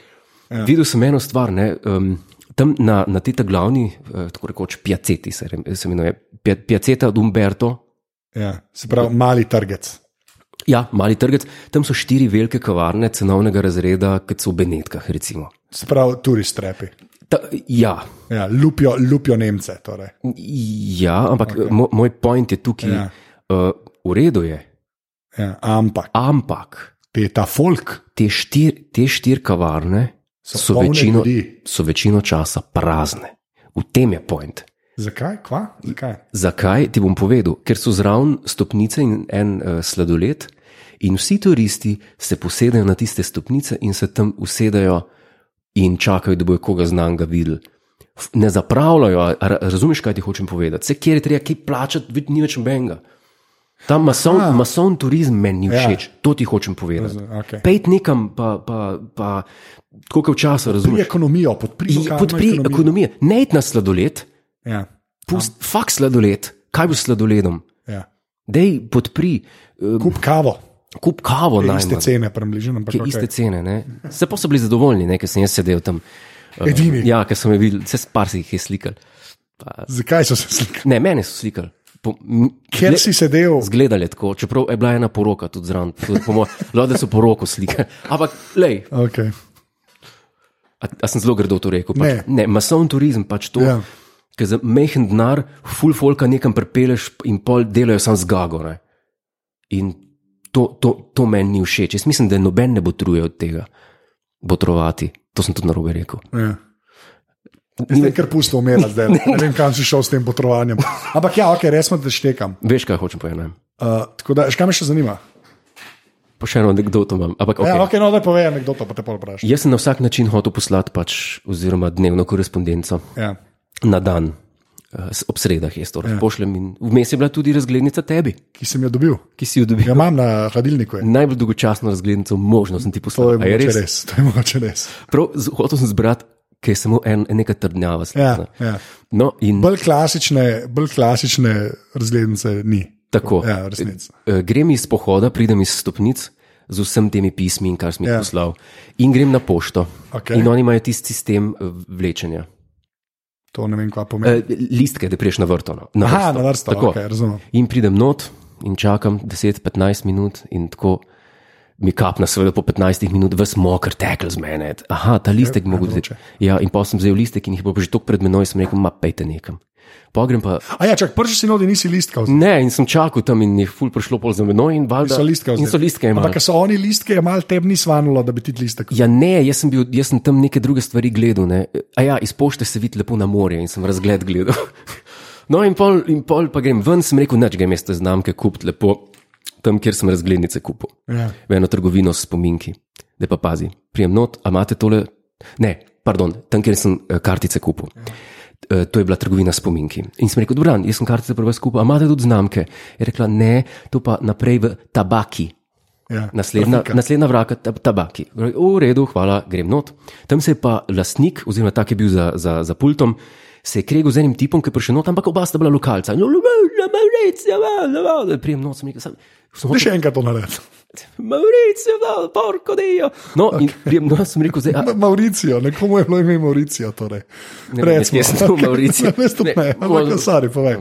ja. videl sem eno stvar. Ne, um, tam na, na tej glavni, uh, tako rekoč, piaceti se, rem- se imenuje, pia, piaceta od Umberto.
Ja, se pravi, mali target.
Ja, mali trgec, tam so štiri velike kavarne cenovnega razreda, kot so v Benetkah. recimo.
Se pravi, turist repi.
Ta, ja,
Ja, lupijo, lupijo Nemce. Torej.
ja, ampak okay. mo, moj point je tukaj,
Ja.
ja. uh, v redu je,
Ja, ampak
ampak
te ta folk,
te štiri te štir kavarne so, so,
polne
večino,
ljudi.
so večino časa prazne. V tem je point.
zakaj, kva? Zakaj?
Zakaj ti bom povedal? Ker so zraven stopnice in en uh, sladoled, in vsi turisti se posedajo na tiste stopnice in se tam usedajo in čakajo, da bojo koga znanga videli. F- Ne zapravljajo, a- a razumeš, kaj ti hočem povedati. Se kjer je treba kaj plačati, vid- ni več benga. Ta masovn, masovn turizem meni ni
Ah. Ja.
všeč, ja. to ti hočem povedati.
okej.
Pejt nekam, pa, pa, pa tako kot včasih
Pri
razumeš.
ekonomijo, podpri
I-
lokalno
Podpri ekonomijo, ne id na sladoled.
Ja,
Pust, fak sladoled, kaj bo s sladoledom?
ja.
Dej podpri, eh,
Kup kavo,
kup kavo
te
na
iste cene, približno. ampak
Ki
okej.
iste cene, ne? Se pa so bili zadovoljni, ne, ker sem jaz sedel tam. eh,
Edini.
Ja, ker sem jih videl, vse par si jih je slikal.
Zakaj so se slikali?
Ne, mene so slikali. Po, m-
Ker
zgle-
si sedel,
Zgledali tako, čeprav je bila ena poroka tudi zraven, tudi po mojem, da so poroko slikali. Ampak, lej,
okay.
A, a sem zelo grdo to rekel. Pač, ne. ne, masovni turizem pač to.
Ja.
Ja. Ker za mehen denar, full folka nekam prepeleš in pol delajo sam zgago. Ne? In to, to, to meni ni všeč. Jaz mislim, da noben ne bo truje od tega, botrovati. To sem tudi narobe rekel.
ja. Zdaj, ker pusto umira, zdaj ne vem, kam si šel s tem potrovanjem. Ampak ja, ok, res me teštekam.
Veš, kaj hočem povedati?
Uh, tako da, še kaj me še zanima?
Pa še eno anegdoto imam. Ampak,
Okay. Ja,
okay.
ok, no, da povej anekdoto, pa te pol vprašaj.
Jaz sem na vsak način hotel poslati, pač, oziroma dnevno korespondenco.
Ja.
Na dan, eh, s- ob sredah je to, ja. pošljem in vmes je bila tudi razglednica tebi,
Ki sem jo dobil,
ki si jo dobil.
jo imam na hladilniku. je.
najbolj dolgočasno razglednico možno sem ti
To Mm.
poslal. A
je mogoče res, to je mogoče res.
Prav, z- hotel sem zbrati, ker je samo en, neka trdnjava.
Ja,
slikana.
ja.
No, in
Bolj klasične, bolj klasične razglednice ni.
tako.
Ja, resnica.
Eh, Grem iz pohoda, pridem iz stopnic z vsem temi pismi in kar sem jih
Ja.
ja. poslal, in grem na pošto.
Okej.
In oni imajo tisti sistem eh, vlečenja.
To ne vem, kva pomeni.
Eh, Listke, da priješ na vrto. No, na
Aha,
vrsto.
na vrsto,
Tako.
okay, razumem.
In pridem not in čakam 10-15 minut, in tako mi kapna, seveda po 15 minut, vse mokr tekel z mene. Aha, ta listek mogo
vroče.
vzeti. Ja, in pa sem vzel listek in jih bo že tako pred menoj, sem rekel, ma pejte nekam. Pogrem pa.
A ja, čak, prši si nodi, nisi listka. vzel.
Ne, in sem čakal tam in je ful prišlo pol za menoj in valjda.
So listke
in so
vzel.
listke imeli.
Ampak, ker so oni listke, je malo tebi ni svanulo, da bi ti listek.
Ja, ne, jaz sem, bil, jaz sem tam neke druge stvari gledal. Ne. A ja, iz pošte se vidi lepo na morje in sem razgled gledal. No, in pol, in pol pa grem ven, sem rekel, noč grem jaz te znamke kupiti lepo, tam, kjer sem razglednice kupil.
Ja.
V eno trgovino s spominki. Da pa pazi, prijem not, a imate tole. Ne, pardon, tam, kjer sem eh, kartice kupil. Eh, To je bila trgovina s spominki. In sem rekel, dobro, jaz sem kartice prva skupaj, a imate tudi znamke? Je rekla, ne, to pa naprej v tabaki.
Ja.
Naslednja, naslednja vraka, ta- tabaki. V redu, hvala, grem not. Tam se je pa lastnik, oziroma ta, ki je bil za, za, za pultom, se je kregel z enim tipom, ki je prišel not, ampak oba sta bila lokalca. No, no, no, no, no, no, no, no, no, no, prijem not, sem rekel, sam. Sem
Ti
hotel,
še enkrat to naredi.
Mauricio, da, porko dejo. No, okay. in prijem, no, sem rekel, zdaj, a,
Mauricijo, nekomu je bilo ime Mauricija. Torej.
Ne vem, jaz nisem bil Mauricio.
Ne, ne, ne,
Wal-
ne, sorry, povej.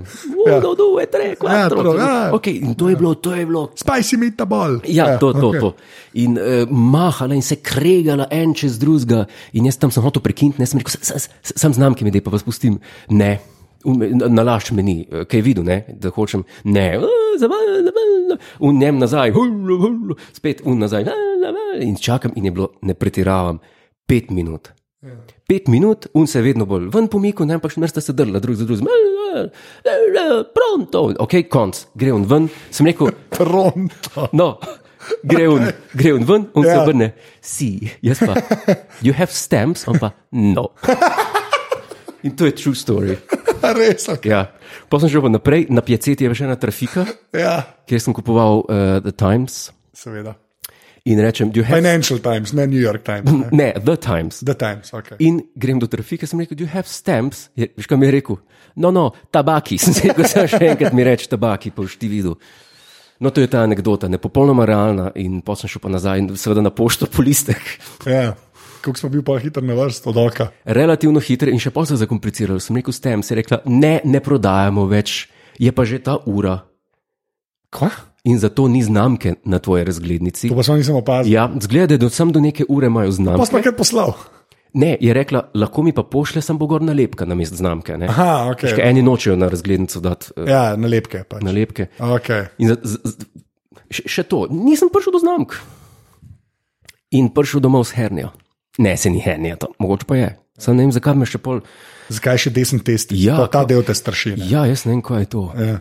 Ja.
uno, due, tre, quattro.
prav, ja.
Ok, in to je bilo, to je bilo.
Spicy meatball.
Ja, to, to,
okej.
to. In uh, mahala in se kregala en čez drugega, in jaz tam sem hotel prekiniti, ne, sem rekel, "S- s- s- sam znam, ki mi da, pa vas pustim. Ne, Um, na- nalašč me ni, eh, kaj videl, ne, da hočem, ne, "A, zaval, zaval." v njem nazaj, hullu, hullu, spet v nazaj, "La, la, la." in čakam, in je bilo, ne pretiravam, pet minut. Pet minut, un se je vedno bolj ven pomikal, ne, ampak še mrsta se drla, drug za drugim, "Eh, pronto, ok, konc, gre on ven, sem rekel.
Pronto.
No, gre on, gre on ven, on ja. se
Ja.
obrne, si, jaz pa. You have stamps, on pa no. In to je true story.
Res, ok.
Ja. Potem sem šel pa naprej, na piaceti je pa še ena trafika,
Ja,
kjer sem kupoval uh, The Times
seveda.
in rečem, "Do you have.
Financial Times, ne New York Times. Ne?
Ne, The Times.
The Times, ok.
In grem do trafike, sem rekel, do you have stamps? Je, veš, kaj mi je rekel? No, no, tabaki. Sem se rekel, "Samo še enkrat mi reče tabaki, pa boš ti videl. No, to je ta anekdota, ne popolnoma realna. In potem sem šel pa nazaj, in seveda na pošto po listek.
Ja. Kako smo bili pa hitro na vrsti od oka.
relativno hitre in še posebej zakomplicirali. Sem rekel, s tem se je rekla, ne, ne prodajamo več, je pa že ta ura
Kva?
in zato ni znamke na tvoji razglednici.
To pa sem nisem opazil.
Ja, zgleda, da sem do neke ure imajo
Pa smo
znamke.
kar poslal.
Ne, je rekla, lahko mi pa pošlje samo gor nalepka na mest znamke. Ne?
Aha, ok.
Ker eni nočejo na razglednico dati eh,
Ja, nalepke. Pač.
nalepke.
Okay.
In za, z, z, še, še to, nisem prišel do znamk. In prišel domov s hernijo. Ne, se ni hernija, to mogoče pa je. Sam ne vem, zakaj me še pol.
Zakaj še desen test?
Ja,
to, ta del te straši. ne.
Ja, jaz ne vem, kaj je to.
Ja.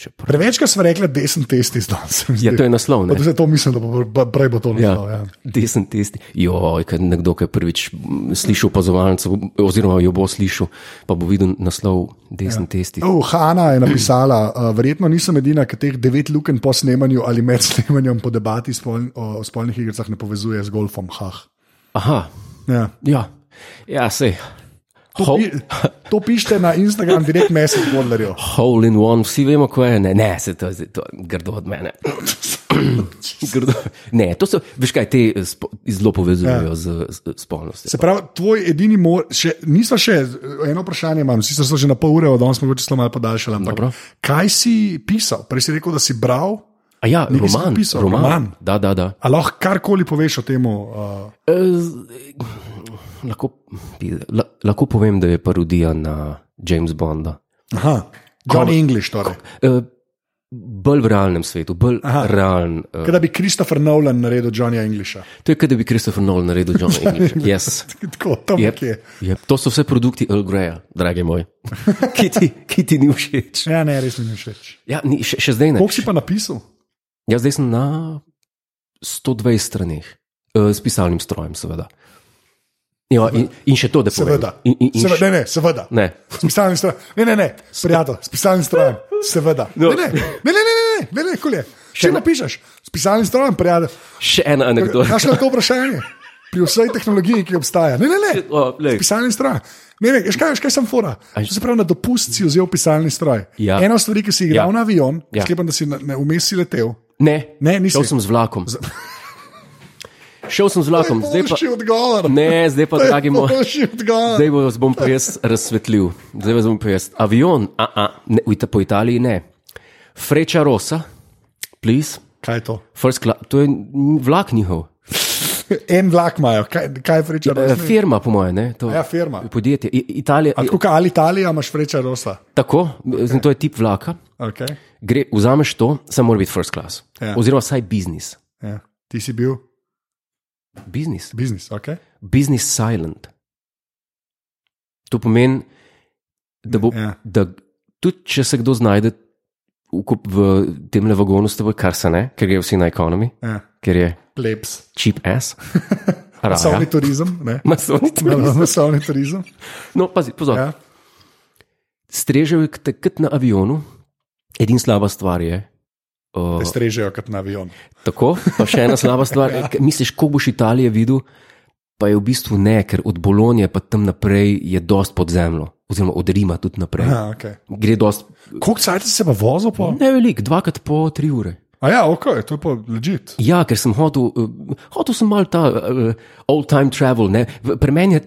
Čeprav.
Prevečkrat smo rekli desen test iz danes.
Ja, to je naslov.
Pa
Ne?
to se to mislim, da bo pr- prej bo to naslov. Ja.
Ja. Desen test. Joj, kaj nekdo, ki je prvič mm, slišal opazovalnico, oziroma jo bo slišal, pa bo videl naslov desen ja. test.
Oh, Hanna je napisala, uh, verjetno nisem edina, ki teh devet luken po snemanju ali med snemanjem po debati spol, o, o spolnih igrah ne povezuje z golfom. Hah.
Aha,
Ja.
ja, ja sej.
To, pi, to pišete na Instagram, direkt mesec Bodlerju.
Hole in one, vsi vemo, kaj je. Ne, ne se to, je- to je grdo od mene. grdo. Ne, to so, veš kaj, te eh, spo, zelo povezujejo ja. z, z z spolnostjo.
Se pravi, tvoj edini mor, še, nismo še, eno vprašanje imam, sicer so že na pol ure, od danes smo ga čisto malo podaljšali. ampak
Dobro.
Kaj si pisal? Prej si rekel, da si bral,
A ja,
Nekaj sem
roman,
napisal,
roman. roman.
roman.
Da, da, da.
a lahko karkoli poveš o tem. Uh,
Eh, lahko, la, lahko povem, da je parodija na Jamesa Bonda.
aha, Johnny English, torej.
Eh, Bolj v realnem svetu, bolj Aha.
Aha.
realen. eh,
Kaj da bi Kristofer Nolan naredil Johnnyja Englisha.
To je, kot da bi Christopher Nolan naredil John English. Yes.
Tako, tam
Yep,
yep. je.
yep. To so vse produkti Earl Greya, dragi moj, ki ti, ki ti ni všeč.
Ja, ne, res mi ni všeč.
Ja, ni, še, še zdaj ne.
Koliko si pa napisal?
Jaz zdaj sem na 120 straneh, eh, s pisalnim strojem, seveda. Jo, in, in še to, da povem.
Seveda.
Torej, In, in, in
seveda
še,
ne, ne, seveda.
ne.
S pisalnim strojem. Ne, ne, ne, prijatelj, s pisalnim strojem, seveda.
No.
No. Ne, ne, ne, ne, ne, ne, ne, ne, ne, ne. Če napišeš, s pisalnim strojem, prijatelj.
še ena anekdota.
Kakšno je to vprašanje? Pri vsej tehnologiji, ki obstaja. Ne, ne, ne.
O, glej.
Pisalni stroj. Ne, ne, veš kaj, veš kaj sem fora. To se pravi, na dopust si vzel pisalni stroj.
Ja.
Ena stvar, ki si
Ja.
igral ja. na avion,
Ja.
ja. sklepam, da si na- na- vmes si letel.
Ne,
Ne, nisi.
šel sem z vlakom. Šel sem z vlakom, zdaj pa.
Boljši odgovor.
Ne, zdaj pa, dragi moj.
Boljši odgovor.
Zdaj vas bom pa jaz razsvetlil, zdaj vas bom pa jaz. Avion, a, a, ne, v Ita- po Italiji ne. Freča Rosa, please,
Kaj je to?
first class, to je n- vlak njihov.
En vlak imajo, kaj, kaj freča
Eh,
rosa?
Firma, po mojem, ne. To,
Ja, firma.
Podjetje. I, Italija,
A Tako kot ali Italija, imaš freča rosa.
tako, okay. to je tip vlaka.
Okay.
Gre, vzameš to, samo mora biti first class.
Ja.
Oziroma vsaj biznis.
Ja. Ti si bil
Biznis.
biznis, ok?
business silent. To pomeni, da, bo,
Ja.
da tudi če se kdo znajde v, kup- v tem le vagonu, s teboj, kar se ne, ker gre vsi na ekonomi,
Ja.
ker je
Plebs.
cheap ass, raja.
Masovni turizem, ne? Ja,
Masovni turizem.
Masovni turizem.
No, pazi, pozor. Ja.
Ja.
Strežejo jih te kot na avionu, edina slaba stvar je. Uh,
Te strežejo kot na avion.
tako, pa še ena slaba stvar. ja. Misliš, ko boš Italijo videl, pa je v bistvu ne, ker od Bolonije pa tam naprej je dost pod zemljo, oziroma od Rima tudi naprej.
Ja, okay.
gre dosti, Hm?
Koliko časa si se pa vozil? Po?
ne veliko, No. dvakrat po tri ure.
A ja, ok, to je pa ležit.
Ja, ker sem hotel, eh, hotel sem malo ta uh, old time travel, ne. V- pri meni je uh,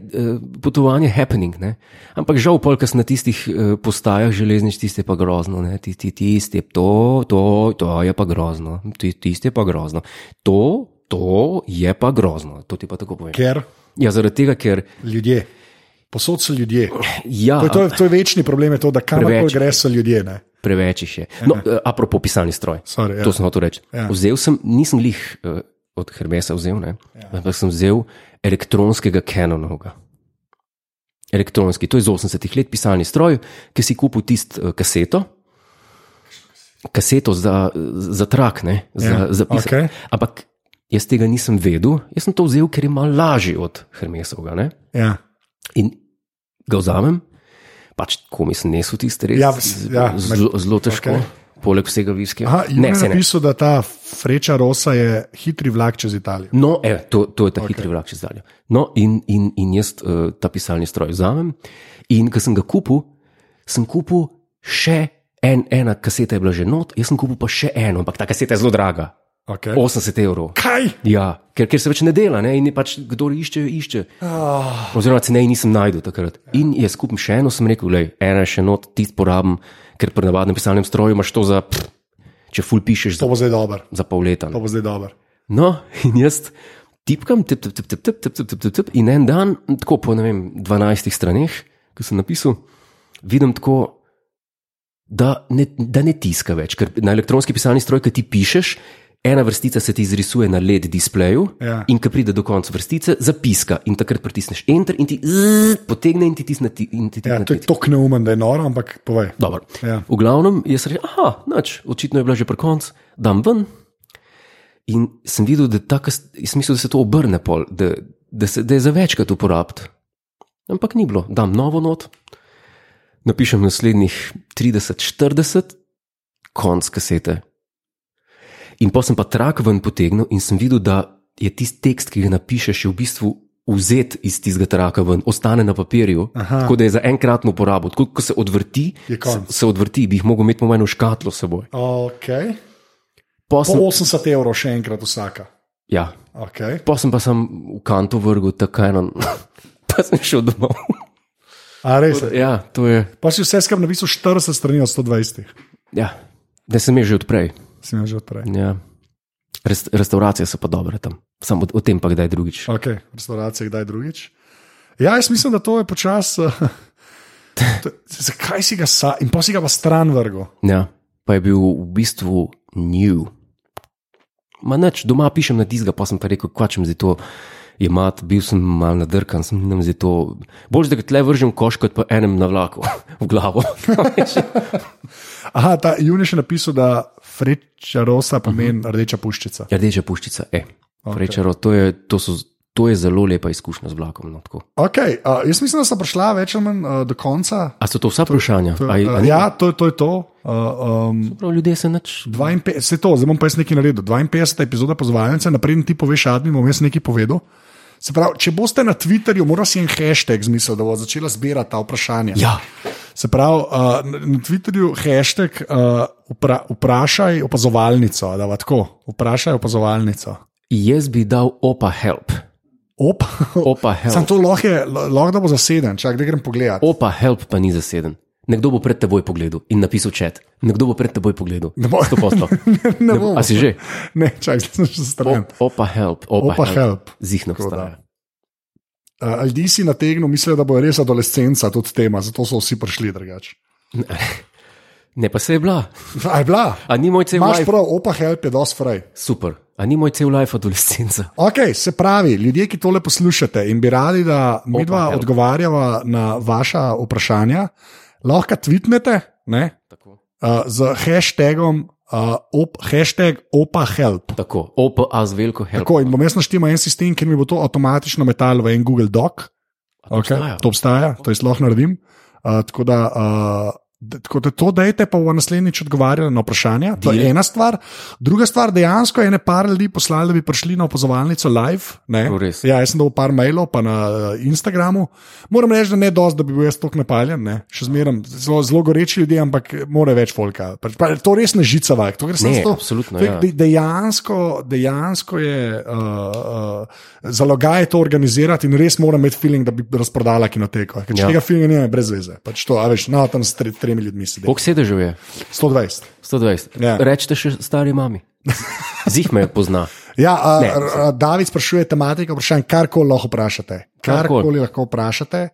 potovanje happening, ne. ampak žal polk na tistih uh, postajah železnic, tiste je pa grozno, ne. Ti, ti, tiste, to, to, to je pa grozno, ti, tiste je pa grozno, to, to je pa grozno, to ti pa tako povem.
Ker
Ja, zaradi tega, ker
ljudje, posod so ljudje.
ja,
To je, to, je, to je večni problem, je to, da kamorkoli
Preveč.
greš, so ljudje. Ne?
preveč jih je. No, eh, apropo pisalni stroj.
Sorry, ja.
To sem hotel reči. Ja.
Ja.
Vzel sem, nisem lih eh, od Hermesa vzel, ne,
Ja.
ampak sem vzel elektronskega Canonovega. Elektronski, to je iz 80-ih let pisalni stroj, ki si kupil tisto eh, kaseto. Kaseto za, za trak, ne, za,
Ja,
ja, za pisanje.
okej.
Okay. Ampak jaz tega nisem vedel, jaz sem to vzel, ker je malo lažje od Hermesovega. Ne.
Ja.
In ga vzamem, pač tako mislim, ne so tiste res.
Ja, s- ja,
zelo, zelo težko,
okej.
okay. poleg vsega viskija.
Aha, ne,
saj
je napisal, da ta freča rosa je hitri vlak čez Italijo.
No, e, to, to je ta okay. hitri vlak čez dalje. No, in, in, in jaz uh, ta pisalni stroj vzamem. In ko sem ga kupil, sem kupil še en, ena kaseta, je bila že not, jaz sem kupil pa še eno, ampak ta kaseta je zelo draga,
Okay.
80 evrov.
Kaj?
Ja, ker, ker se več ne dela, ne? in je pač kdo išče, išče.
Oh,
Oziroma, cenej nisem najdel takrat. In jaz skupim še eno, sem rekel, le ena še not, ti porabim, ker pri navadnem pisalnem stroju imaš to za, pff, če ful pišeš
to
za,
bo zdaj dober.
za pol leta.
To
Ne.
bo zdaj dober.
No, in jaz tipkam, tip, tip, tip, tip, tip, tip, tip, tip, tip, tip, in en dan, tako po ne vem, 12 straneh, ki sem napisal, vidim tako. Da ne, da ne tiska več, ker na elektronski pisalni stroj, ki ti pišeš, ena vrstica se ti izrisuje na LED displeju,
Ja.
In ko pride do konca vrstice, zapiska in takrat pritisneš enter in ti zzz, potegne in ti tisne. Ti, in ti
Ja,
tisne
to je tako neumen, da je noro, ampak povej.
Dobro.
Ja.
V glavnem, jaz rečem, ah, noč, očitno je bila že pri koncu, dam ven. In sem videl, da, ta, kas- jaz mislil, da se to obrne, pol, da, da, se, da je za večkrat uporabiti. Ampak ni bilo, dam novo not, napišem naslednjih 30-40, konc kasete. In pa sem pa trak ven potegnil in sem videl, da je tisti tekst, ki ga napišeš, je v bistvu vzet iz tistega traka ven, ostane na papirju,
Aha.
Aha. tako da je za enkratno uporabo. Tako ko se odvrti,
Je konec.
se, se odvrti, bi jih mogel imeti pomajno škatlo s seboj.
Okay.
Po
Po
sem,
80 evrov še enkrat vsaka.
ja,
Okay.
po sem pa sem v kanto vrgel, tako eno, pa sem šel domov.
A res. je?
ja, to je,
Pa si vse skupaj napisal 40 strani od 120,
ja, da sem je že odprej.
si mi že odprej.
Ja. Rest, restauracije so pa dobre tam, samo o, o tem pa kdaj drugič.
Ok, restauracije, kdaj drugič. Ja, jaz mislim, da to je počasi. eh, to- Zakaj si ga sa in pa si ga pa stran vrgel?
Ja, pa je bil v bistvu new. Ma nič, doma pišem na tizga, pa sem pa rekel, kvačem zdaj to. Je mat, bil sem mal nadrkan, sem nam zdaj to. Bolje, da ga tle vržem v koš, kot pa enem na vlaku v glavo.
Aha, ta Jun je še napisal, da freča rosa pomeni uh -huh. rdeča puščica.
Rdeča puščica, e. Okay. Rečero, to je, to, so, to je zelo lepa izkušnja z vlakom. No, tako.
Okay, uh, jaz mislim, da sta prišla več ali manj uh, do konca.
a so to vsa vprašanja?
To,
A, je- a,
uh,
ni-
ja, to, to je to. Uh, um,
Prav, ljudje se nič.
52, saj to, zdaj bom pa jaz nekaj naredil. 52. epizoda pozvalnice, napreden ti poveš, admin, bom jaz nekaj povedal. Se pravi, če boste na Twitterju, mora si en hashtag zmisliti, da bo začela zbirati ta vprašanja.
Ja,
Se pravi, uh, na- na Twitterju hashtag uh, vpra, vprašaj opazovalnico, da bo tako, vprašaj opazovalnico.
jaz bi dal opa help.
Op,
Opa help.
Sam to lahko je, lo- lahko da bo zaseden, čak da grem pogledat.
Opa, help pa ni zaseden. Nekdo bo pred teboj pogledal in napisal čet. Nekdo bo pred teboj pogledal.
Ne bo-
100%.
ne bom.
A si že?
Ne, čak, zdaj sem še stran.
Op- Opa, help. Opa,
Opa,
opa help. help.
help.
Zihno
Tako da.
obstaja.
Uh, Ljudje si nategnili, mislijo, da bo res adolescenca tudi tema, zato so vsi prišli drugače.
Ne, pa se je bila.
A je bila?
A ni moj cel
Imáš
life.
prav, opa, help je dosti fraj.
Super. A ni moj cel life adolescenca.
Ok, se pravi, ljudje, ki tole poslušate in bi radi, da mi dva
help.
odgovarjava na vaša vprašanja, lahko tvitnete ne,
Tako.
uh, z hashtagom uh, op, hashtag opa help.
Tako. Opa, a z veliko help.
Tako, in bom jaz naštel en sistem, ki mi bo to avtomatično metal v en Google Doc.
A to
Okay,
obstaja?
to obstaja, to jaz lahko naredim. Uh, tako da uh, Da- Tako da to dajte, pa bo naslednjič odgovarjali na vprašanja. To je
Deal.
ena stvar. Druga stvar, dejansko je ne par ljudi poslali, da bi prišli na opazovalnico live. ne.
Prav res.
Ja, jaz sem dal par mailov, pa na eh, Instagramu. Moram reči, da ne dosti, da bi bil jaz tako napaljen. Ne. Še zmeraj zelo, zelo goreči ljudje, ampak more več folka. Pač, pa, to res ne žica vak. To, gre samo
Ne,
za to,
absolutno,
to je
ja.
de- dejansko, dejansko je uh, uh, zalogaj to organizirati in res moram imeti feeling, da bi razprodala kinoteko. Ker če
Ja.
ja. tega feelinga nimam, je brez veze. Pač to, a veš, no, tam s tre, tremi ljudmi sedi.
Koliko sedežev je?
120.
120.
Ja.
Rečete še stari mami. Zih me pozna.
Ja, a,
Ne.
r- r- David sprašuje tematiko, vprašanje, karkoli lahko vprašate.
Karkoli.
Karkoli lahko vprašate.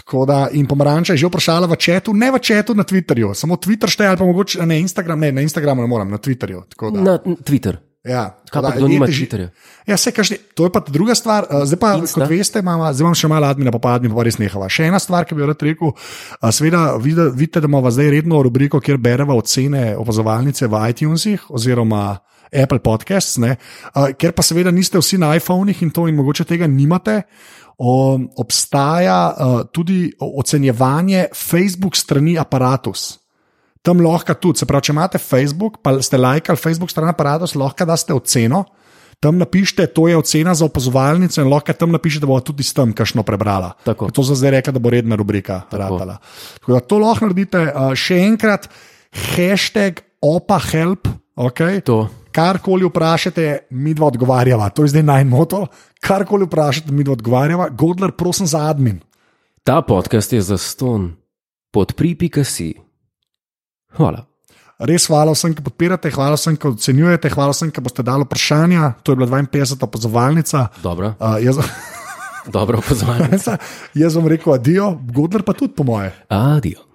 Tako da, in pomaranča je že vprašala v četu, ne v četu na Twitterju, samo Twitter šteje ali pa mogoče ne Instagram, ne na Instagramu ne moram, na Twitterju. tako da.
Na Twitter.
Ja,
Kaj pa
tako da,
kdo nima
idete že-
Twitterja?
Ja, se kaže, to je pa druga stvar. Eh, Zdaj pa,
Insta.
Insta. kot veste, imamo, zdaj imam še malo admina, pa pa admin, pa res nehava. Še ena stvar, ki bi jo rad rekel, eh, seveda vide- vidite, da imamo zdaj redno rubriko, kjer bereva ocene opazovalnice v iTunesih oziroma Apple Podcasts, ne, Eh, ker pa seveda niste vsi na iPhonih in to in mogoče tega nimate. O, obstaja uh, tudi o- ocenjevanje Facebook strani aparatus tam lahko tudi. Se pravi, če imate Facebook, pa ste lajkali Facebook stran aparatus, lahko daste oceno. Tam napišite, to je ocena za opazovalnico, in lahko tam napišete, da bo tudi s tem kakšno prebrala.
Tako.
Ker To so zdaj rekla, da bo redna rubrika ratala. Tako da to lahko naredite. Uh, še enkrat, hashtag opa help, okay?
To.
karkoli vprašate, mi dva odgovarjava. To je zdaj najmoto. Karkoli vprašate, mi dva odgovarjava. Godler, prosim za admin.
Ta podcast je zaston. Podpri.si. Hvala.
Res hvala vsem, ki podpirate, hvala vsem, ki ocenjujete, hvala vsem, ki boste dali vprašanja. To je bila 52. opazovalnica.
Dobro,
Uh, jaz,
dobro pozvanje.
jaz vam rekel, adijo, Godler pa tudi, po moje.
Adijo.